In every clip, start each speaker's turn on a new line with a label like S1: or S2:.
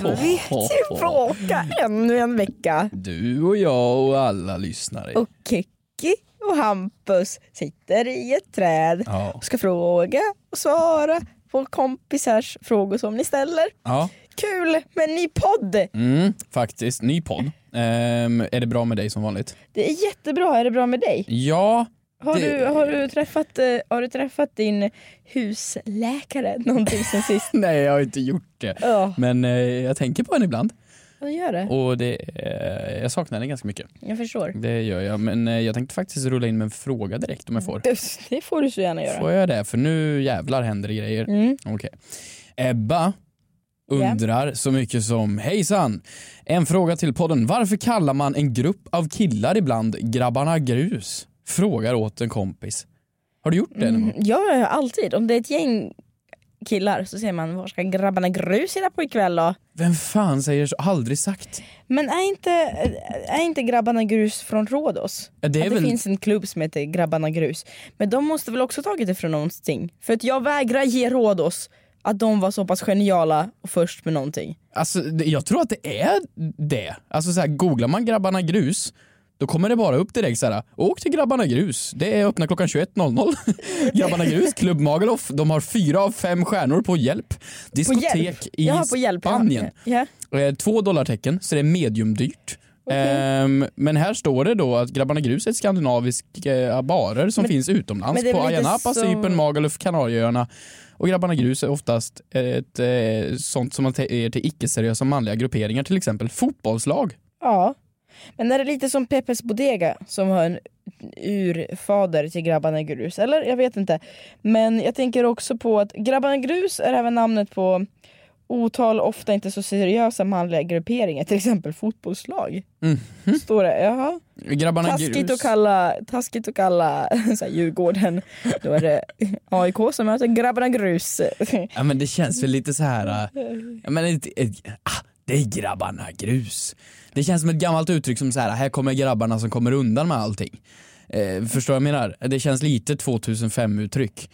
S1: Vi är tillbaka ännu en vecka.
S2: du och jag och alla lyssnare.
S1: Och Kekki och Hampus sitter i ett träd
S2: Ja.
S1: och ska fråga och svara på kompisars frågor som ni ställer.
S2: Ja,
S1: Kul med en ny podd!
S2: mm, faktiskt. Ny podd. Ehm, är det bra med dig som vanligt?
S1: Det är jättebra. Är det bra med dig?
S2: Ja,
S1: Har,
S2: Det-
S1: du, har, du, träffat, eh, har du träffat din husläkare någonting sen sist?
S2: nej jag har inte gjort det.
S1: Ja,
S2: Men eh, jag tänker på henne ibland
S1: vad gör det.
S2: och det, eh, jag saknar henne ganska mycket.
S1: Jag förstår.
S2: Det gör jag, men eh, jag tänkte faktiskt rulla in med en fråga direkt om
S1: Mm.
S2: jag får.
S1: Det- Det får du så gärna göra.
S2: Får jag det? För nu jävlar händer det grejer.
S1: Mm.
S2: Okej. Ebba undrar så mycket som Hejsan! En fråga till podden. Varför kallar man en grupp av killar ibland grabbarna grus? Frågar åt en kompis. Har du gjort det någon
S1: Mm,
S2: gång?
S1: ja, ja, alltid. Om det är ett gäng killar så säger man var ska grabbarna grus idag på ikväll då?
S2: Vem fan säger så? Aldrig sagt.
S1: Men är inte, är inte grabbarna grus från Rhodos?
S2: Ja, Det
S1: Det,
S2: är
S1: att det
S2: väl...
S1: finns en klubb som heter grabbarna grus. Men de måste väl också tagit det från någonting? För att jag vägrar ge Rhodos att de var så pass geniala och först med någonting.
S2: Alltså, det- jag tror att det är det. Alltså så här, googlar man grabbarna grus då kommer det bara upp direkt såhär, åk till Grabbarna Grus, det är öppna klockan 21.00. grabbarna Grus, Klubb Magaluf, de har fyra av fem stjärnor på Hjälp.
S1: På
S2: Diskotek
S1: hjälp.
S2: i
S1: Jaha, på hjälp. ja.
S2: Spanien.
S1: Ja.
S2: Eh, Två dollartecken, så det är mediumdyrt. Ehm, men här står det då att Grabbarna Grus är ett skandinaviska eh, barer som finns utomlands
S1: men det är
S2: på
S1: väl
S2: Ayia
S1: lite
S2: Napa,
S1: så- Mm.
S2: Cypern, Magaluf, Kanarieöarna. Och Grabbarna Grus är oftast ett eh, sånt som man ger till icke-seriösa manliga grupperingar, till exempel fotbollslag.
S1: ja. Men är det lite som Peppes Bodega som har en urfader till Grabbarna Grus? Eller? Jag vet inte. Men jag tänker också på att Grabbarna Grus är även namnet på otal ofta inte så seriösa manliga grupperingar, till exempel fotbollslag.
S2: Mhm.
S1: Står det. Jaha.
S2: Grabbarna
S1: Taskigt
S2: Grus.
S1: att kalla, taskigt att kalla så här, Djurgården, då är det AIK som möter Grabbarna Grus.
S2: Ja men det känns väl lite så här. äh, Ja, men ett, ett, ah, det är grabbarna grus. Det känns som ett gammalt uttryck som så här, här kommer grabbarna som kommer undan med allting. Eh, förstår jag vad jag menar? Det känns lite 2005 uttryck.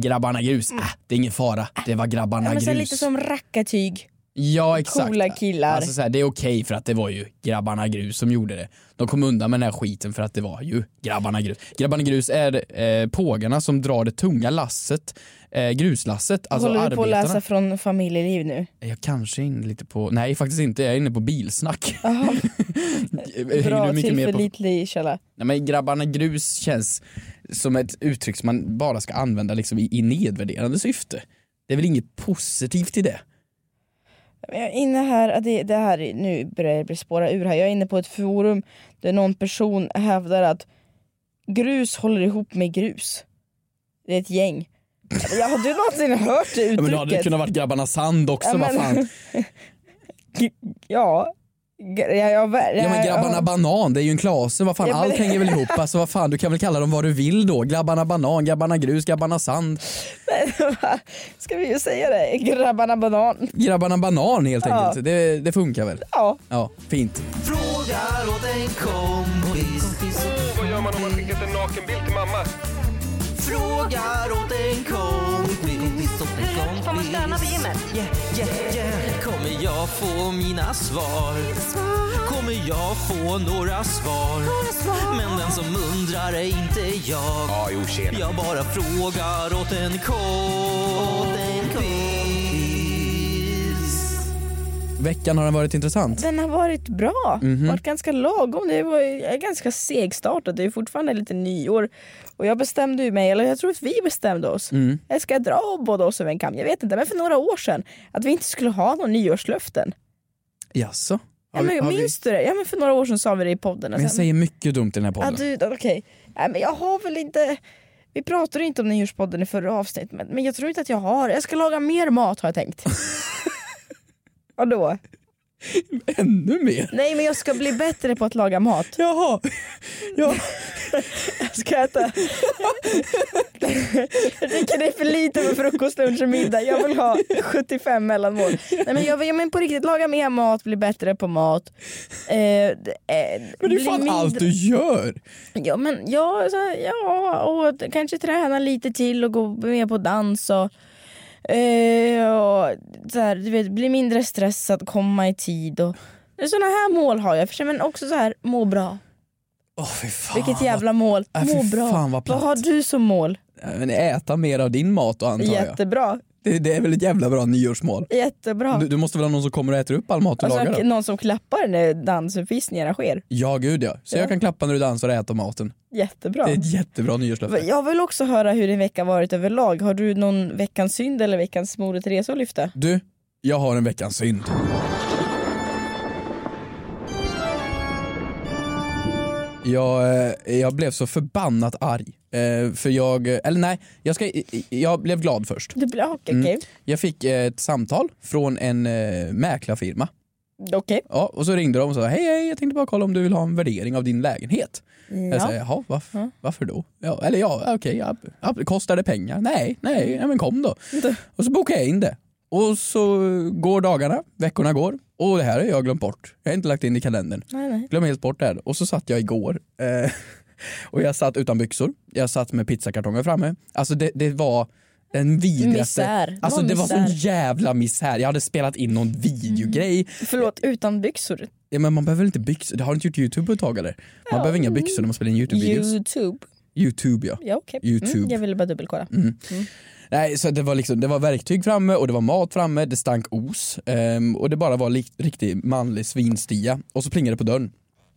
S2: Grabbarna grus, ah, det är ingen fara, det var grabbarna
S1: Mm. Men sen
S2: grus.
S1: lite som rackartyg.
S2: ja exakt.
S1: coola killar.
S2: Alltså, så här, det är okej för att det var ju grabbarna grus som gjorde det. De kom undan med den här skiten för att det var ju grabbarna grus. Grabbarna grus är eh, pågarna som drar det tunga lasset, eh, gruslasset, alltså
S1: Håller du på att
S2: arbetarna.
S1: läsa från familjeliv nu?
S2: Jag kanske är inne lite på, nej faktiskt inte, jag är inne på bilsnack.
S1: Jaha. Bra
S2: du mycket mer på?
S1: tillförlitlig källa.
S2: Nej, men grabbarna grus känns som ett uttryck som man bara ska använda liksom i, i nedvärderande syfte. Det är väl inget positivt i det?
S1: Jag är inne här, ja, det, det här, är- nu börjar det bli spåra ur här. Jag är inne på ett forum där någon person hävdar att grus håller ihop med grus. Det är ett gäng. Ja, har du någonsin hört det
S2: Ja,
S1: uttrycket?
S2: men då hade det kunnat varit grabbarna sand också,
S1: Ja,
S2: vad
S1: men-
S2: fan.
S1: Ja. Gr- Ja, jag, vä-
S2: Ja men grabbarna banan, det är ju en klase, vad fan
S1: Ja, men-
S2: allt hänger väl ihop. Alltså vad fan, du kan väl kalla dem vad du vill då. Grabbarna banan, grabbarna grus, grabbarna sand.
S1: Ska vi ju säga det? Grabbarna banan.
S2: Grabbarna banan helt
S1: Ja.
S2: enkelt. Det, det funkar väl?
S1: Ja.
S2: Ja, fint.
S3: Frågar åt en kompis.
S4: Vad gör man om man skickat en nakenbild till mamma?
S3: Frågar åt en kompis. Åt en kompis. Får man stöna på gymmet? Yeah, yeah, yeah. Kommer jag få mina svar? Kommer jag få några svar? Men den som undrar är inte jag. Jag bara frågar åt en kompis.
S2: Veckan har den varit intressant.
S1: Den har varit bra.
S2: Mhm.
S1: Varit ganska lagom. Det var ju, jag är ganska segstartat. Det är ju fortfarande lite nyår. Och jag bestämde ju mig, eller jag tror att vi bestämde oss.
S2: Mm.
S1: Jag ska dra båda oss över en kam. Jag vet inte, men för några år sedan. Att vi inte skulle ha några nyårslöften.
S2: Jaså?
S1: Ja, men, minns du det? Ja, men för några år sedan sa vi det i podden.
S2: Men jag
S1: Sen-
S2: säger mycket dumt i den här
S1: Ja,
S2: podden.
S1: du, då, okej. Nej, men jag har väl inte... Vi pratade ju inte om nyårspodden i förra avsnittet, men, men jag tror inte att jag har. Jag ska laga mer mat har jag tänkt. Vadå?
S2: Ännu mer?
S1: Nej men jag ska bli bättre på att laga mat.
S2: Jaha. Ja.
S1: Jag ska äta. Jag tycker det är för lite för frukost, lunch och middag. Jag vill ha 75 mellanmål. Nej men jag vill, jag men på riktigt, laga mer mat, bli bättre på mat. Eh, d- eh,
S2: Men det är
S1: bli
S2: fan
S1: mindre-
S2: allt du gör.
S1: Ja men ja, så, här, ja och d- kanske träna lite till och gå mer på dans och, eh, och så här, du vet, bli mindre stressad, komma i tid och sådana här mål har jag för sig men också så här må bra.
S2: Åh fy fan.
S1: Vilket jävla mål.
S2: Äh, fy
S1: Må bra.
S2: fan, vad platt.
S1: har du som mål?
S2: Men äta mer av din mat då antar jag.
S1: Jättebra.
S2: Det, det är väl ett jävla bra nyårsmål.
S1: Jättebra.
S2: Du, du måste väl ha någon som kommer och äter upp all mat du
S1: alltså,
S2: lagar? Då?
S1: någon som klappar när dansuppvisningarna sker.
S2: Ja gud ja. Så jag kan klappa när du dansar och äta maten.
S1: Jättebra.
S2: Det är ett jättebra nyårslöfte.
S1: Jag vill också höra hur din vecka varit överlag. Har du någon veckans synd eller veckans moder Teresa att lyfta?
S2: Du, jag har en veckans synd. Jag, eh, jag blev så förbannat arg. Eh, För jag, eller nej, jag, ska, jag blev glad först.
S1: Du blir ah, okej. Okej.
S2: Jag fick eh, ett samtal från en eh, mäklarfirma.
S1: Okej.
S2: Ja, och så ringde de och sa hej hej, jag tänkte bara kolla om du vill ha en värdering av din lägenhet. Jag sa jaha, varför, varför då? Ja, eller ja, okej, ja, ja, kostar det pengar? Nej, nej, ja, men kom då.
S1: Mm.
S2: Och så bokade jag in det. Och så går dagarna, veckorna går och det här har jag glömt bort. Jag har inte lagt in i kalendern.
S1: Nej, nej.
S2: Glöm helt bort det här. Och så satt jag igår eh, och jag satt utan byxor. Jag satt med pizzakartonger framme. Alltså det, det var den vidrigaste.
S1: Misär. Det
S2: Alltså
S1: var
S2: det var sån
S1: misär.
S2: jävla misär. Jag hade spelat in någon videogrej.
S1: Förlåt, utan byxor.
S2: Ja, men man behöver väl inte byxor? Det har du inte gjort Youtube på ett tag eller? Man behöver inga byxor när man spelar in Youtube-videos.
S1: Youtube.
S2: Youtube ja.
S1: Ja okej. Mm,
S2: Youtube. Mm.
S1: jag ville bara dubbelkolla.
S2: Nej, så det var, liksom, det var verktyg framme och det var mat framme, det stank os ehm, och det bara var lik, riktig manlig svinstia. Och så plingade det på dörren.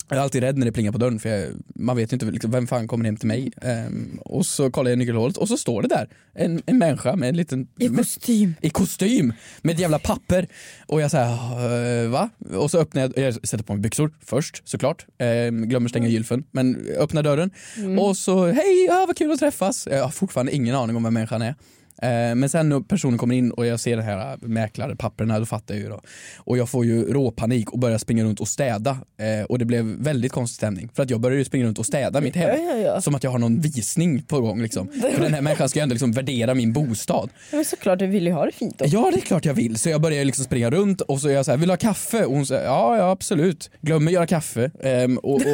S2: Jag är alltid rädd när det plingar på dörren för jag, man vet ju inte liksom, vem fan kommer hem till mig. Ehm, och så kollar jag nyckelhålet och så står det där en, en människa med en liten...
S1: I kostym.
S2: i kostym med ett jävla papper och jag säger eh, va? Och så öppnar jag, jag sätter på mig byxor först såklart, eh, glömmer
S1: Mm.
S2: stänga gylfen men öppnar dörren och så hej, ja, vad kul att träffas. Jag har fortfarande ingen aning om vem människan är. Eh, Men sen när personen kommer in och jag ser den här mäklarpapperna, då fattar jag ju då. Och jag får ju råpanik och börjar springa runt och städa. Eh, Och det blev väldigt konstig stämning. För att jag började ju springa runt och städa mitt hem.
S1: Ja, ja, ja.
S2: Som att jag har någon visning på gång liksom. För den här människan ska ju ändå liksom värdera min bostad.
S1: Ja, Men såklart, du vill ju ha det fint då.
S2: Ja det är klart jag vill. Så jag börjar liksom springa runt och så är jag så här, vill du ha kaffe? Och hon säger ja, ja absolut. Glömmer göra kaffe. Ehm, och, och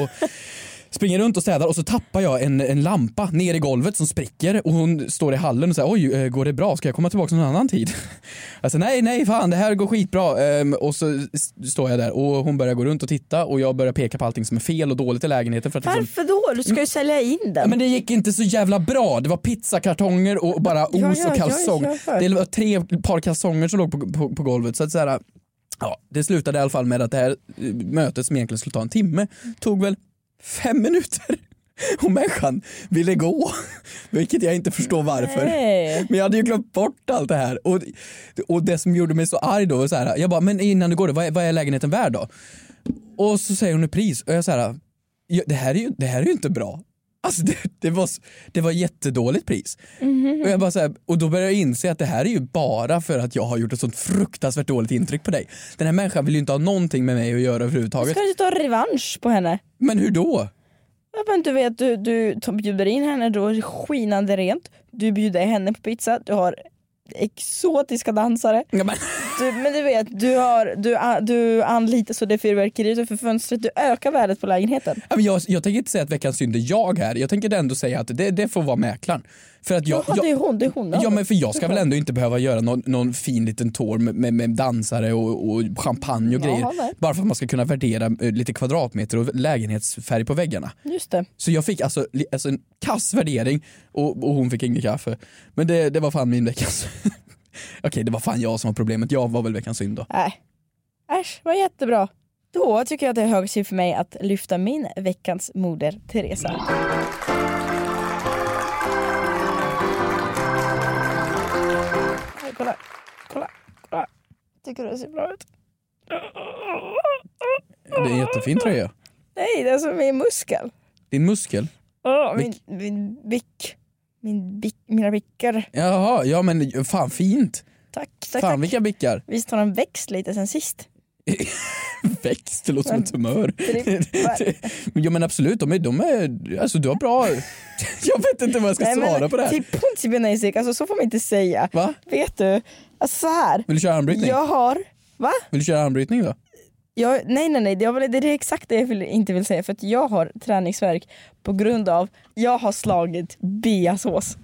S2: springer runt och städar och så tappar jag en, en lampa ner i golvet som spricker och hon står i hallen och säger oj eh, går det bra? Ska jag komma tillbaka någon annan tid? Jag säger nej nej fan det här går skitbra. Ehm, och så s- står jag där och hon börjar gå runt och titta och jag börjar peka på allting som är fel och dåligt i lägenheten. För att liksom,
S1: Varför då? Du ska ju sälja in
S2: Ja,
S1: den.
S2: men det gick inte så jävla bra. Det var pizzakartonger och bara
S1: ja,
S2: os och
S1: ja,
S2: kalsong.
S1: jag hör.
S2: det var tre par kalsonger som låg på, på, på golvet. Så att så här, ja, det slutade i alla fall med att det här eh, mötet som egentligen skulle ta en timme tog väl fem minuter. Och människan ville gå, vilket jag inte förstår varför.
S1: Nej.
S2: Men jag hade ju glömt bort allt det här. Och, och det som gjorde mig så arg då var så här, jag bara, men innan du går då, vad är, vad är lägenheten värd då? Och så säger hon ett pris och jag så här, ja, det här är ju, det här är ju inte bra. Alltså det, det var, s- det var jättedåligt pris.
S1: Mhm.
S2: Och, jag bara så här, och då började jag inse att det här är ju bara för att jag har gjort ett sånt fruktansvärt dåligt intryck på dig. Den här människan vill ju inte ha någonting med mig att göra överhuvudtaget.
S1: Ska du ta revansch på henne?
S2: Men hur då?
S1: Ja, men du vet, du, du tar- bjuder in henne, då är det skinande rent. Du bjuder henne på pizza, du har exotiska dansare.
S2: Ja, men,
S1: Du, men du vet, du, har, du, a- du anlitar så det är fyrverkeri utanför fönstret, du ökar värdet på lägenheten.
S2: Ja, men jag, jag tänker inte säga att veckans synd är jag här. Jag tänker ändå säga att det, det får vara mäklaren. För att jag,
S1: Jaha,
S2: jag,
S1: det är hon, det är hon.
S2: Ja men för jag ska väl ändå inte behöva göra någon, någon fin liten tår med, med, med dansare och, och champagne och
S1: Jaha,
S2: grejer.
S1: nej.
S2: Bara för att man ska kunna värdera eh, lite kvadratmeter och lägenhetsfärg på väggarna.
S1: Just det.
S2: Så jag fick alltså, li- alltså en kass värdering och, och hon fick ingen kaffe. Men det, det var fan min veckans... Okej det var fan jag som var problemet, jag var väl veckans synd då.
S1: Nej. Äsch, vad jättebra. Då tycker jag att det är hög tid för mig att lyfta min veckans moder Teresa. Oj, Kolla, kolla, kolla. Tycker du det ser bra ut?
S2: Det är en jättefin tröja.
S1: Nej, det är som min muskel.
S2: Din muskel.
S1: Åh, min, min bick. Min bick, mina bickar.
S2: Jaha, ja men fan fint.
S1: Tack, tack,
S2: fan
S1: tack.
S2: vilka bickar.
S1: Visst har de växt lite sen sist?
S2: Växt, det låter som ett tumör.
S1: Trippar.
S2: ja men absolut, de är, de är, alltså du har bra... jag vet inte vad jag ska svara på det här.
S1: Typ punkt basic, alltså så får man inte säga.
S2: Va?
S1: Vet du? Alltså så här.
S2: Vill du köra armbrytning?
S1: Jag har... Va?
S2: Vill du köra armbrytning då?
S1: Jag, nej nej nej, det var väl- det är det exakt det jag vill, inte vill säga för att jag har träningsvärk på grund av jag har slagit beasås.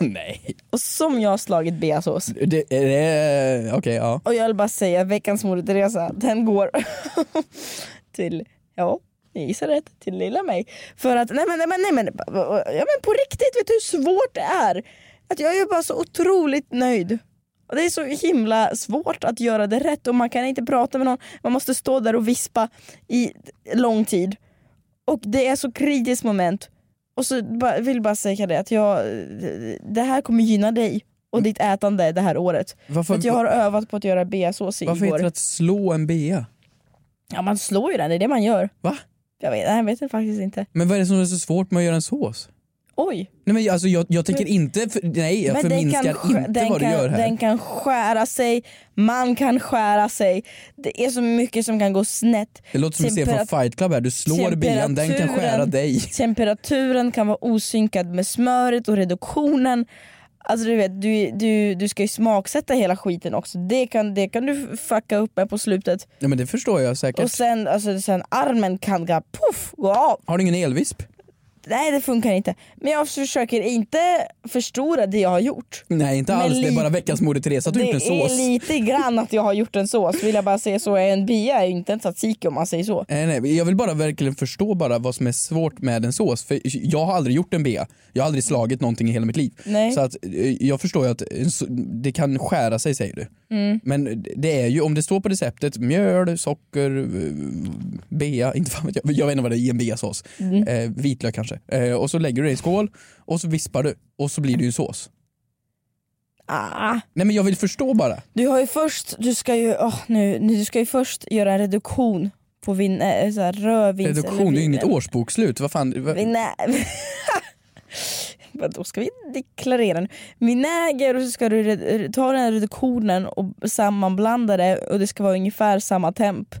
S2: Nej.
S1: Och som jag har slagit beasås.
S2: Det, är det, okej ja.
S1: Och jag vill bara säga veckans moderresa, den går till, ja, ni gissar rätt, till lilla mig. För att, nej men, nej men, nej men, ja men på riktigt, vet du hur svårt det är? Att jag är ju bara så otroligt nöjd. Och det är så himla svårt att göra det rätt och man kan inte prata med någon, man måste stå där och vispa i lång tid. Och det är så kritiskt moment. Och så bara- vill bara säga det att jag, det här kommer gynna dig och ditt ätande det här året.
S2: Varför,
S1: För att jag har övat på att göra beasås i
S2: varför heter
S1: år.
S2: det att slå en bea?
S1: Ja man slår ju den, det är det man gör.
S2: Va?
S1: Jag vet, nej, jag vet faktiskt inte.
S2: Men vad är det som är så svårt med att göra en sås?
S1: Oj!
S2: Nej men jag- alltså jag, jag tänker inte, för, nej jag förminskar
S1: skär-
S2: inte vad
S1: kan,
S2: du gör här.
S1: den kan skära sig, man kan skära sig. Det är så mycket som kan gå snett.
S2: det låter som att se från
S1: temperat-
S2: Fight Club här, du slår bean, den kan skära
S1: temperaturen-
S2: dig.
S1: Temperaturen kan vara osynkad med smöret och reduktionen. Alltså du vet, du, du, du ska ju smaksätta hela skiten också. Det kan, det kan du fucka upp med på slutet.
S2: Ja men det förstår jag säkert.
S1: Och sen, alltså, sen armen kan bara poff gå av.
S2: Har du ingen elvisp?
S1: Nej det funkar inte. Men jag försöker inte förstora det jag har gjort.
S2: Nej inte
S1: Men
S2: alls, det är
S1: li-
S2: bara veckans Moder Teresa att du gjort
S1: det
S2: en sås.
S1: är lite grann att jag har gjort en sås, vill jag bara säga så. En bia är ju inte en tzatziki om man säger så.
S2: Eh, Nej, nej, jag vill bara verkligen förstå bara vad som är svårt med en sås. För jag har aldrig gjort en bea. Jag har aldrig slagit någonting i hela mitt liv.
S1: Nej.
S2: Så att, eh, jag förstår ju att en så- det kan skära sig säger du.
S1: Mm.
S2: Men det är ju, om det står på receptet, mjöl, socker, eh, bea, inte fan vet jag. Jag vet inte vad det är i en beasås.
S1: Mm.
S2: Eh, vitlök kanske. Eh, och så lägger du det i en skål och så vispar du och så blir det ju en sås.
S1: Ah.
S2: Nej men jag vill förstå bara.
S1: Du har ju först, du ska ju, åh, nu, nu, du ska ju först göra en reduktion på vin, äh, så här, rödvins eller
S2: Reduktion, det är ju inget
S1: viner.
S2: årsbokslut. Vad fan, vad-
S1: Vinä- Då ska vi deklarera nu. Vinäger och så ska du re- ta den här reduktionen och sammanblanda det och det ska vara ungefär samma temp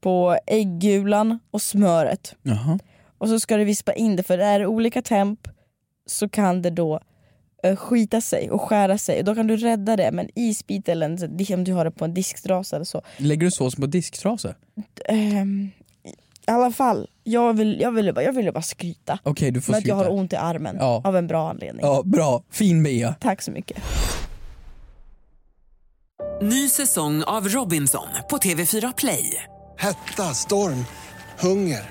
S1: på äggulan och smöret.
S2: Jaha.
S1: Och så ska du vispa in det för är det olika temp så kan det då eh, skita sig och skära sig. Och då kan du rädda det med en isbit eller en, om du har det på en disktrasa eller så.
S2: Lägger du såsen på disktrasa?
S1: Ehm, I alla fall, jag ville jag vill bara, jag vill bara skryta.
S2: Okej du får
S1: Men att jag
S2: sluta.
S1: har ont i armen
S2: Ja.
S1: av en bra anledning.
S2: Ja, bra. Fin Bea.
S1: Tack så mycket.
S5: Ny säsong av Robinson på TV4 Play.
S6: Hetta, storm, hunger.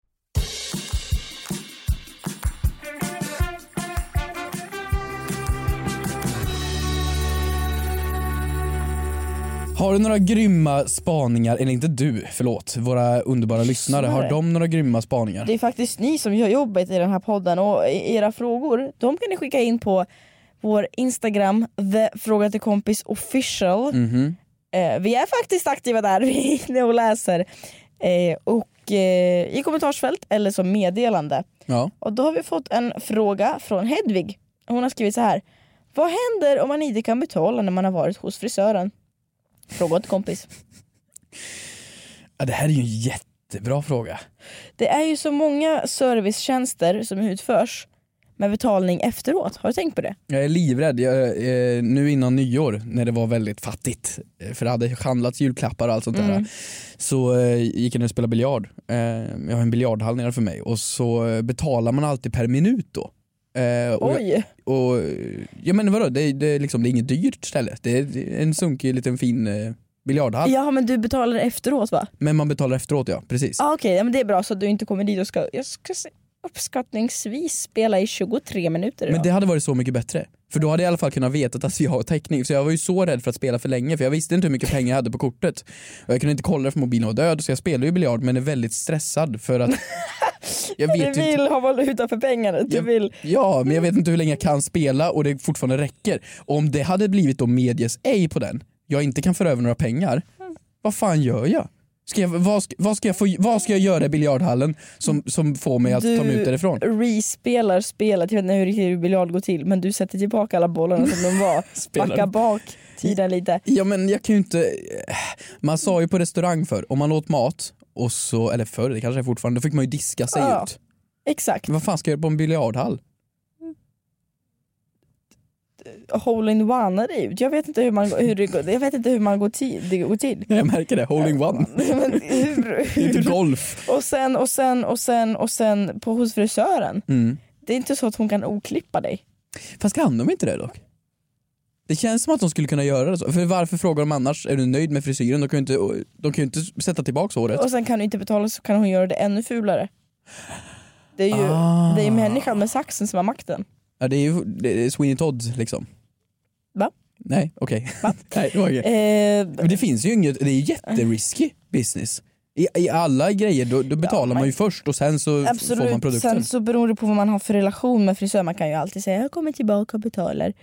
S2: Har du några grymma spaningar, eller inte du, förlåt, våra underbara lyssnare, har de några grymma spaningar?
S1: Det är faktiskt ni som gör jobbet i den här podden och i- era frågor, de kan ni skicka in på vår Instagram, the fråga till kompis official.
S2: Mm. Mhm.
S1: Eh, vi är faktiskt aktiva där, vi är inne och läser. Eh, och eh, i kommentarsfält eller som meddelande.
S2: Ja.
S1: Och då har vi fått en fråga från Hedvig. Hon har skrivit så här. Vad händer om man inte kan betala när man har varit hos frisören? Fråga till kompis.
S2: ja, det här är ju en jättebra fråga.
S1: Det är ju så många servicetjänster som utförs med betalning efteråt. Har du tänkt på det?
S2: Jag är livrädd, jag, eh, nu innan nyår när det var väldigt fattigt, eh, för det hade handlats julklappar och allt sånt
S1: Mm.
S2: där, så eh, gick jag ner och spelade biljard. Eh, jag har en biljardhall nere för mig och så eh, betalar man alltid per minut då. Eh, och jag-
S1: Oj!
S2: Och, ja men vadå, det, är- det, är liksom, det är inget dyrt ställe. Det är en sunkig liten fin eh, biljardhall.
S1: Ja men du betalar efteråt va?
S2: Men man betalar efteråt ja, precis.
S1: Ja ah, okej, ja, men det är bra så att du inte kommer dit och ska, jag ska se- uppskattningsvis spela i 23 minuter idag.
S2: Men det hade varit så mycket bättre. För då hade jag i alla fall kunnat veta att alltså, jag har täckning. Så jag var ju så rädd för att spela för länge för jag visste inte hur mycket pengar jag hade på kortet. Och jag kunde inte kolla för mobilen var död så jag spelade ju biljard men är väldigt stressad för att jag vet ju
S1: Du
S2: inte.
S1: vill ha valuta för pengarna, du
S2: Jag-
S1: vill.
S2: Ja, men jag vet inte hur länge jag kan spela och det fortfarande räcker. Och om det hade blivit då medges ej på den, jag inte kan föra över några pengar, vad fan gör jag? Ska jag, vad, ska, vad, ska jag få, vad ska jag göra i biljardhallen som, som får mig att
S1: Du-
S2: ta mig ut därifrån?
S1: Respelar spelet, jag vet inte hur riktigt hur biljard går till men du sätter tillbaka alla bollarna som de var.
S2: Spelar.
S1: Backa bak tiden lite.
S2: Ja men jag kan ju inte, man sa ju på restaurang för om man åt mat och så, eller förr det kanske är fortfarande, då fick man ju diska sig
S1: Ja.
S2: ut.
S1: Exakt,
S2: Vad fan ska jag göra på en biljardhall?
S1: hole-in-one är ut. Jag vet inte hur man, hur det, går- jag vet inte hur man går, till, det går till.
S2: Jag märker det, holding one.
S1: Men hur,
S2: Det är inte
S1: hur?
S2: golf.
S1: Och sen och sen och sen och sen på hos frisören.
S2: Mm.
S1: Det är inte så att hon kan oklippa dig.
S2: Fast kan de inte det dock? Det känns som att de skulle kunna göra det så. För varför frågar de annars? Är du nöjd med frisyren? De kan ju inte, de kan ju inte sätta tillbaka håret.
S1: Och sen kan du inte betala så kan hon göra det ännu fulare. Det är ju
S2: Ah.
S1: det är ju människan med saxen som har makten.
S2: Ja, det är ju det är Sweeney Todd liksom.
S1: Va?
S2: Nej, okej. Nej, det var inget.
S1: Eh,
S2: Men det finns ju inget, det är ju jätterisky business. I, I alla grejer då, då betalar man ju först och sen så f- får man
S1: absolut,
S2: produkten.
S1: sen så beror det på vad man har för relation med frisören. Man kan ju alltid säga jag kommer tillbaka och betalar.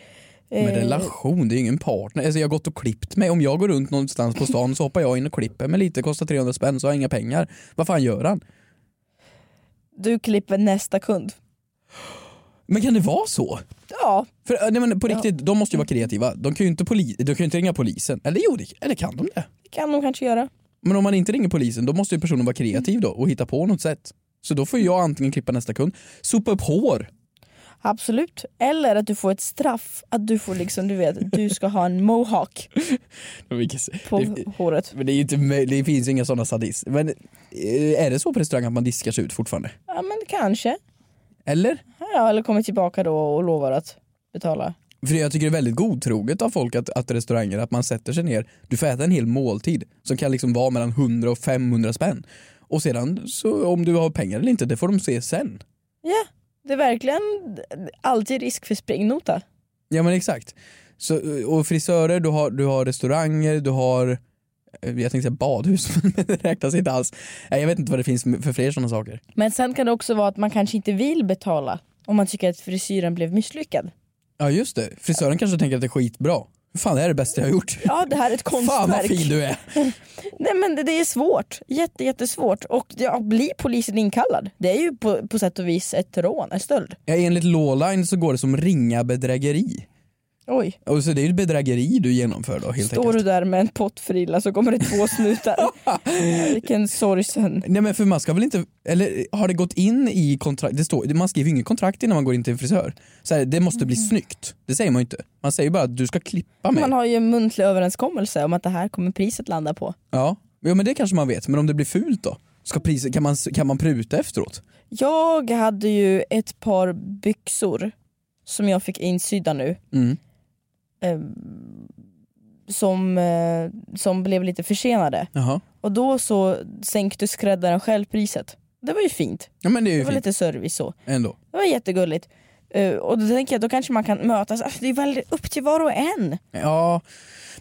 S2: Men
S1: Eh,
S2: relation, det är ju ingen partner. Alltså jag har gått och klippt mig. Om jag går runt någonstans på stan så hoppar jag in och klipper mig lite, kostar 300 spänn så har jag inga pengar. Vad fan gör han?
S1: Du klipper nästa kund.
S2: Men kan det vara så?
S1: Ja,
S2: För äh, nej, men på
S1: Ja. Mm.
S2: riktigt, de måste ju vara kreativa. De kan ju inte, poli- de kan ju inte ringa polisen. Eller jo, det- eller kan de det?
S1: det kan de kanske göra.
S2: Men om man inte ringer polisen, då måste ju personen vara
S1: Mm.
S2: kreativ då och hitta på något sätt. Så då får jag antingen klippa nästa kund, sopa upp hår.
S1: Absolut. Eller att du får ett straff. Att du får liksom, du vet, du ska ha en mohawk på
S2: Det,
S1: håret.
S2: men det, är ju inte, möj- det finns ju inga sådana sadister. Men eh, är det så på restaurang att man diskar sig ut fortfarande?
S1: Ja men kanske.
S2: Eller?
S1: Ja, eller kommer tillbaka då och lovar att betala.
S2: För jag tycker det är väldigt godtroget av folk att, att restauranger, att man sätter sig ner, du får äta en hel måltid som kan liksom vara mellan 100 och 500 spänn. Och sedan så om du har pengar eller inte, det får de se sen.
S1: Ja, det är verkligen alltid risk för springnota.
S2: Ja men exakt. Så, och frisörer, du har, du har restauranger, du har eh, jag tänkte säga badhus, men det räknas inte alls. Nej, Jag vet inte vad det finns för fler sådana saker.
S1: Men sen kan det också vara att man kanske inte vill betala om man tycker att frisyren blev misslyckad.
S2: Ja just det, frisören kanske tänker att det är skitbra. Fan det här är det bästa jag har gjort.
S1: Ja, det här är ett
S2: Fan vad
S1: konstverk.
S2: fin du är.
S1: Nej men det, det är svårt. Jätte, jättesvårt. Och ja, blir polisen inkallad? Det är ju på, på sätt och vis ett rån, en stöld.
S2: Ja, enligt Lawline så går det som ringa bedrägeri.
S1: Oj.
S2: Och så det är ju ett bedrägeri du genomför då helt
S1: Står du
S2: enkelt.
S1: där med en pottfrilla så kommer det två snutar. Vilken sorgsen.
S2: Nej men för man ska väl inte, eller har det gått in i kontrakt, det står, man skriver ju inget kontrakt innan man går in till en frisör. Så här, det måste bli
S1: Mm.
S2: snyggt, det säger man ju inte. Man säger bara att du ska klippa mig.
S1: Man har ju en muntlig överenskommelse om att det här kommer priset landa på.
S2: Ja, jo, men det kanske man vet. Men om det blir fult då? Ska priset, kan, man, kan man pruta efteråt?
S1: Jag hade ju ett par byxor som jag fick insydda nu.
S2: Mm.
S1: Eh, som, eh, som blev lite försenade.
S2: Jaha.
S1: Och då så sänkte skräddaren själv priset. Det var ju fint.
S2: Ja men det är
S1: Det
S2: ju
S1: var
S2: fint
S1: lite service så.
S2: ändå.
S1: Det var jättegulligt. Eh, och då tänker jag då kanske man kan mötas. Alltså, det är väl upp till var och en.
S2: Ja,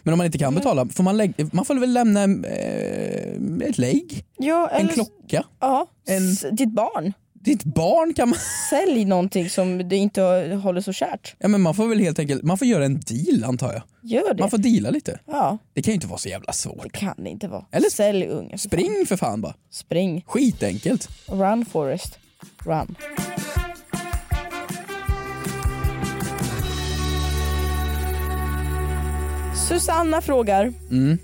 S2: men om man inte kan
S1: Mm.
S2: betala, får man, lägg, man får väl lämna eh, ett lägg,
S1: Ja,
S2: en
S1: eller,
S2: klocka.
S1: Ja,
S2: en-
S1: s- ditt barn.
S2: Ditt barn kan man...
S1: Sälj någonting som du inte håller så kärt.
S2: Ja men man får väl helt enkelt, man får göra en deal antar jag.
S1: Gör det.
S2: Man får deala lite.
S1: Ja,
S2: Det kan ju inte vara så jävla
S1: det
S2: svårt.
S1: kan det inte vara.
S2: Eller-
S1: Sälj unga. för fan.
S2: Spring för fan bara.
S1: Spring.
S2: Skitenkelt.
S1: Run Forest, run. Susanna frågar.
S2: Mm.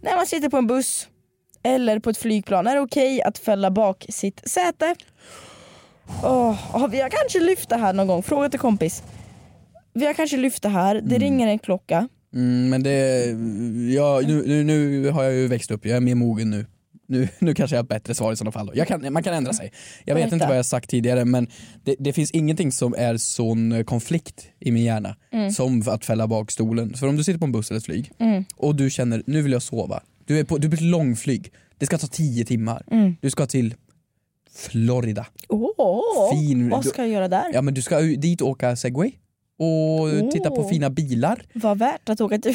S1: När man sitter på en buss eller på ett flygplan, är det okej att fälla bak sitt säte? Åh, har vi har kanske lyft det här någon gång, fråga till kompis. Vi har kanske lyft det här, det ringer en klocka.
S2: Mm, men det, ja, nu, nu, nu har jag ju växt upp, jag är mer mogen nu. Nu, nu kanske jag har ett bättre svar i sådana fall. Då. Jag kan, man kan ändra sig. Jag vet
S1: Berätta.
S2: inte vad jag sagt tidigare men det, det finns ingenting som är sån eh, konflikt i min hjärna
S1: Mm.
S2: som att fälla bak stolen. För om du sitter på en buss eller ett flyg och du känner nu vill jag sova. Du är på, du är på ett långflyg. Det ska ta tio timmar.
S1: Mm.
S2: Du ska till Florida.
S1: Åh,
S2: Fin-
S1: vad ska jag göra där?
S2: Ja men du ska ju dit och åka segway och titta på
S1: Oh.
S2: fina bilar.
S1: Var värt att åka till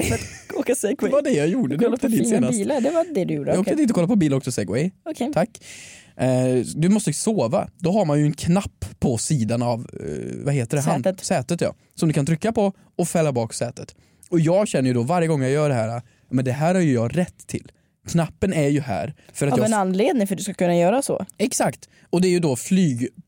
S1: för att åka segway.
S2: Det var det jag gjorde. Det
S1: Kolla
S2: åkte
S1: på
S2: dit
S1: fina
S2: senast.
S1: bilar, det var det du gjorde.
S2: Jag
S1: Okej.
S2: åkte dit och kollade på bil och åkte segway.
S1: Okej.
S2: Tack. Eh, Du måste sova. Då har man ju en knapp på sidan av eh, vad heter det? Hand-
S1: Sätet.
S2: sätet ja. Som du kan trycka på och fälla bak sätet. Och jag känner ju då varje gång jag gör det här, eh, men det här har ju jag rätt till. Knappen är ju här för att
S1: Av
S2: jag
S1: en anledning för att du ska kunna göra så.
S2: Exakt, och det är ju då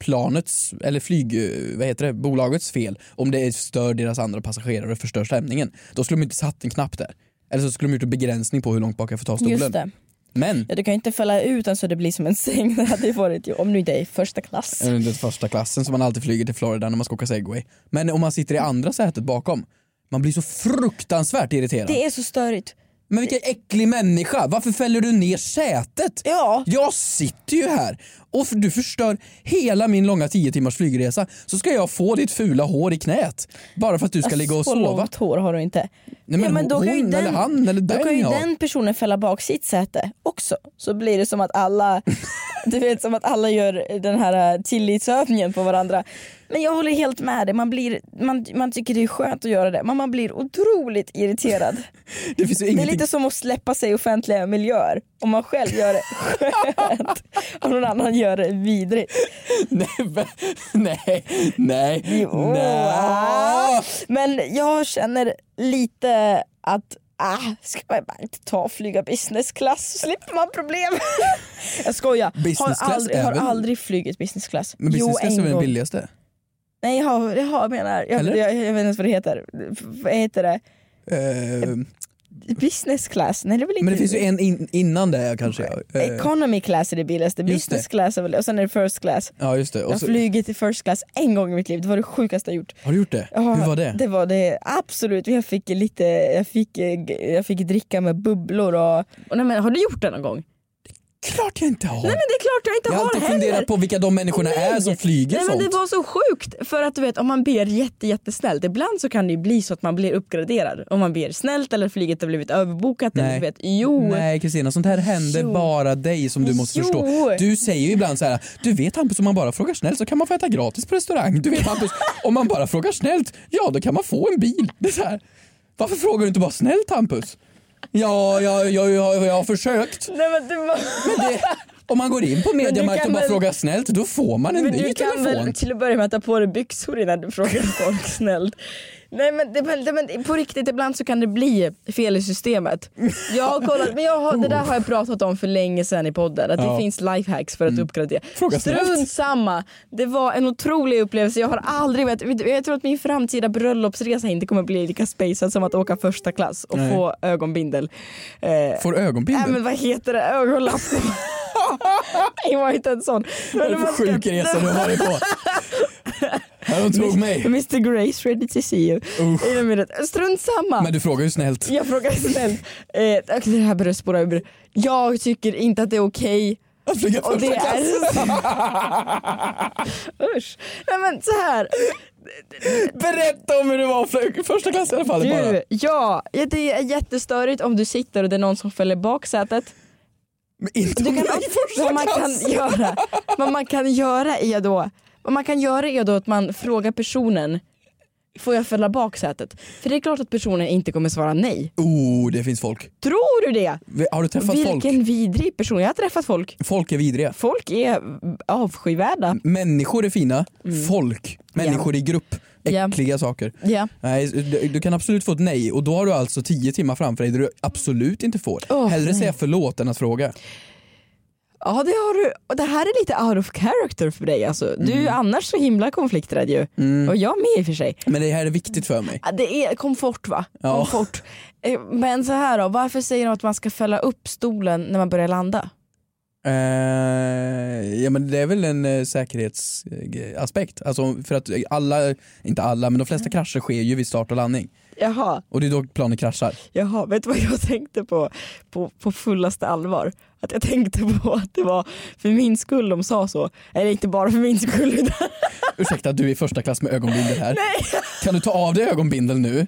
S2: flygplanets, eller flyg, eh, vad heter det, bolagets fel om det stör deras andra passagerare och förstör stämningen. Då skulle de inte satt en knapp där. Eller så skulle de gjort en begränsning på hur långt bak jag får ta stolen.
S1: Just det.
S2: Men,
S1: Ja, du kan ju inte fälla ut den så det blir som en säng. Det hade ju varit, om du inte är i första klass.
S2: eller den första klassen som man alltid flyger till Florida när man ska åka segway. Men om man sitter i andra sätet bakom, man blir så fruktansvärt irriterad.
S1: Det är så störigt.
S2: Men vilken äcklig människa, varför fäller du ner sätet?
S1: Ja.
S2: Jag sitter ju här och för- du förstör hela min långa 10 timmars flygresa så ska jag få ditt fula hår i knät bara för att du ska ligga och
S1: Alltså, så
S2: sova.
S1: långt hår har du inte.
S2: Nej, men hon eller han eller
S1: då
S2: den,
S1: kan ju
S2: ja.
S1: den personen fälla bak sitt säte också. Så blir det som att alla, du vet som att alla gör den här eh, tillitsövningen på varandra. Men jag håller helt med dig, man, blir, man, man tycker det är skönt att göra det men man blir otroligt irriterad.
S2: Det finns ju
S1: Det är
S2: ingenting.
S1: lite som att släppa sig i offentliga miljöer. Om man själv gör det skönt och någon annan gör det vidrigt.
S2: Nej, men- nej, nej,
S1: Jo. äh.
S2: nej.
S1: ah. Men jag känner lite att Ah, ska man bara inte ta och flyga business class så slipper man problem. jag skojar.
S2: Business
S1: har
S2: class
S1: aldrig,
S2: är
S1: har
S2: väl-
S1: aldrig flugit business class.
S2: Men business class är
S1: jo,
S2: väl
S1: en
S2: den
S1: gång.
S2: billigaste?
S1: Nej, jag, har- jag har- menar, jag,
S2: Eller?
S1: jag, jag vet inte ens vad det heter. F- Vad heter det?
S2: Eh,
S1: Business class? Nej, det är väl inte...
S2: men det finns ju en in, innan det kanske. Eh,
S1: Economy class är det billigaste,
S2: Just det.
S1: business class är väl det. och sen är det first class.
S2: ja just det.
S1: Jag
S2: Och
S1: har
S2: så,
S1: flugit i first class en gång i mitt liv, det var det sjukaste jag gjort.
S2: har du gjort det?
S1: Ja,
S2: Hur var det?
S1: Det var det absolut, jag fick lite, jag fick, jag fick dricka med bubblor och... och nej, men, har du gjort det någon gång? Nej
S2: Klart jag inte har.
S1: men det är klart jag inte
S2: jag har
S1: har
S2: alltid
S1: heller!
S2: funderat på vilka de människorna är som flyger
S1: Nej men
S2: sånt.
S1: det var så sjukt! För att du vet om man ber jätte, jättesnällt, ibland så kan det ju bli så att man blir uppgraderad. Om man ber snällt eller flyget har blivit överbokat eller
S2: Nej.
S1: du vet, jo.
S2: Nej Kristina, sånt här händer
S1: Jo.
S2: bara dig som du måste
S1: Jo.
S2: förstå. Du säger ju ibland så här: du vet Hampus om man bara frågar snällt så kan man få äta gratis på restaurang. Du vet Hampus, om man bara frågar snällt, ja då kan man få en bil. Det är så här. Varför frågar du inte bara snällt Hampus? Ja, jag, jag, jag, jag har försökt.
S1: Nej men du var...
S2: Det, om man går in på Mediamarkt
S1: kan
S2: och bara
S1: väl-
S2: frågar snällt, då får man en
S1: Men
S2: ny
S1: du kan
S2: telefon.
S1: väl till att börja med ta på dig byxor innan du frågar folk snällt. Nej men, det, men, det, men på riktigt ibland så kan det bli fel i systemet. Jag har kollat, men jag har, det där har jag pratat om för länge sedan i podden. Att
S2: Oh. Ja. Mm.
S1: det finns lifehacks för att uppgradera.
S2: Fråga snällt.
S1: Strunt samma. Det var en otrolig upplevelse. Jag har aldrig vet, vet du, Jag tror att min framtida bröllopsresa inte kommer bli lika spacad som att åka första klass och
S2: Nej.
S1: få ögonbindel. Eh,
S2: Får du
S1: Nej
S2: ögonbindel?
S1: men vad heter det? Ögonlapp. det var inte en sån. Men
S2: Vad är det
S1: man
S2: för
S1: ska-
S2: sjuk resa du har varit på? Han tog mig.
S1: Mr Grace ready to see you.
S2: Usch.
S1: In a minute. Strunt samma.
S2: Men du frågar ju snällt.
S1: Jag frågar snällt. Eh, okej, det här börjar spåra ur. Jag tycker inte att det är okej.
S2: Att flyga
S1: Och det
S2: första
S1: är...
S2: klass.
S1: Usch. Nej men så här.
S2: Berätta om hur det var för första klass i alla fall. Bara.
S1: Du, ja, det är jättestörigt om du sitter och det är någon som fäller bak sätet.
S2: Men inte
S1: Du
S2: om
S1: kan,
S2: jag är i första
S1: vad, man
S2: klass.
S1: kan göra, vad man kan göra är då vad man kan göra är då att man frågar personen Får jag fälla bak sätet? För det är klart att personen inte kommer svara nej.
S2: Oh, det finns folk.
S1: Tror du det?
S2: Har du träffat
S1: Vilken
S2: folk?
S1: vidrig person. Jag har träffat folk.
S2: Folk är vidriga.
S1: Folk är avskyvärda.
S2: Människor är fina. Folk. Människor i grupp.
S1: Mm. Ja.
S2: Äckliga saker.
S1: Ja.
S2: Nej, du, du kan absolut få ett nej och då har du alltså tio timmar framför dig där du absolut inte får.
S1: Åh,
S2: Hellre
S1: nej.
S2: säga förlåt än att fråga.
S1: ja, det har du. Och det här är lite out of character för dig. Alltså. Du är annars så himla konflikträdd ju. Och jag med i och för sig.
S2: Men det här är viktigt för mig.
S1: Ja, Det är komfort va?
S2: Ja.
S1: Komfort. Eh, Men så här då, varför säger de att man ska fälla upp stolen när man börjar landa?
S2: Eh, ja men det är väl en eh, säkerhetsaspekt. Alltså för att alla, inte alla, men de
S1: Mm.
S2: flesta krascher sker ju vid start och landning.
S1: Jaha,
S2: Och det är då planet kraschar.
S1: jaha, vet du vad jag tänkte på, på på fullaste allvar? Att jag tänkte på att det var för min skull de sa så. Eller inte bara för min skull utan
S2: Ursäkta, du är i första klass med ögonbindel här.
S1: nej,
S2: Kan du ta av dig ögonbindeln nu?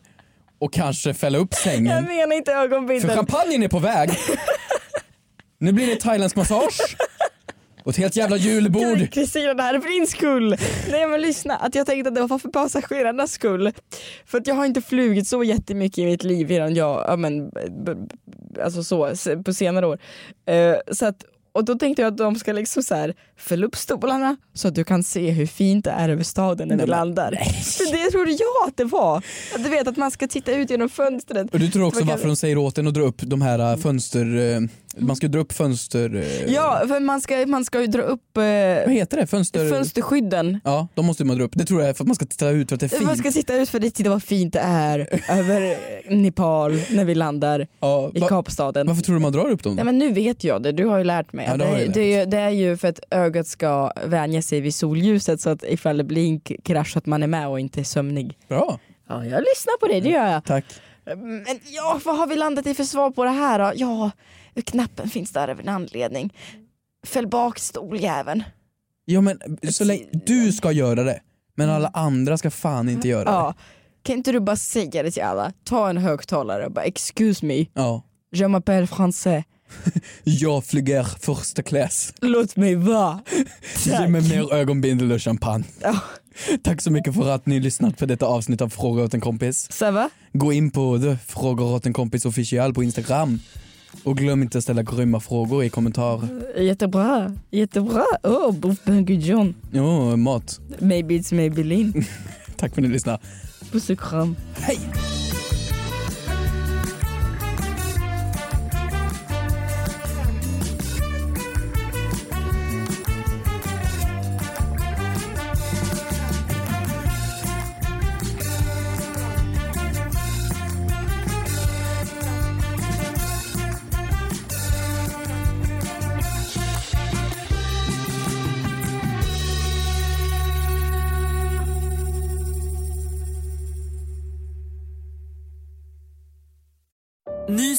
S2: Och kanske fälla upp
S1: jag
S2: sängen?
S1: menar inte
S2: Mm. För
S1: ögonbindeln.
S2: champagnen är på väg! Nu blir det thailändsk massage! Och ett helt jävla julbord!
S1: Nej, Kristina det här är för din skull. Nej men lyssna, att jag tänkte att det var för passagerarnas skull. För att jag har inte flugit så jättemycket i mitt liv innan jag, ja men b- b- alltså så, se- på senare år. Eh, så att, och då tänkte jag att de ska liksom så här fälla upp stolarna så att du kan se hur fint det är över staden när vi landar. För det trodde jag att det var. Att du vet att man ska titta ut genom fönstret.
S2: Och du tror också
S1: Man kan-
S2: varför de säger åt en att dra upp de här äh, fönster... äh, Man ska dra upp fönster... äh,
S1: Ja, för man ska, man ska ju dra upp
S2: Vad
S1: eh,
S2: heter det? Fönster...
S1: fönsterskydden
S2: Ja, de måste man dra upp. Det tror jag är för att man ska titta ut för att det är fint.
S1: Man ska titta ut för att titta vad fint det är över eh, Nepal när vi landar
S2: ja,
S1: i
S2: va-
S1: Kapstaden.
S2: Varför tror du man drar upp dem?
S1: Nej men nu vet jag det, du har ju lärt mig.
S2: Ja, det
S1: det,
S2: har
S1: är,
S2: jag
S1: det, är, ju- det är ju för att ögat ska vänja sig vid solljuset så att ifall det blir en k- krasch så att man är med och inte är sömnig.
S2: Bra,
S1: Ja, jag lyssnar på det, det gör jag.
S2: tack.
S1: Men ja, vad har vi landat i för svar på det här då? Ja, knappen finns där av en anledning. Fäll bak stoljäveln.
S2: Ja men så länge du ska göra det, men alla andra ska fan inte göra det.
S1: Mm. Ja. Kan inte du bara säga det till alla? Ta en högtalare och bara excuse me.
S2: Ja.
S1: Je m'appelle français.
S2: Jag flyger första klass.
S1: Låt mig vara.
S2: Ge
S1: Tack.
S2: mig mer ögonbindel och champagne.
S1: Ja.
S2: Tack så mycket för att ni lyssnat på detta avsnitt av Fråga åt en kompis.
S1: Ça va?
S2: Gå in på The Frågar åt en kompis official på Instagram. Och glöm inte att ställa grymma frågor i
S1: Mm.
S2: kommentarer.
S1: Jättebra. Jättebra. Oh, bouffe ben gudjon.
S2: Jo, mat.
S1: Maybe it's Maybelline.
S2: Tack för att ni lyssnade.
S1: Puss och kram.
S2: Hej!
S5: Ny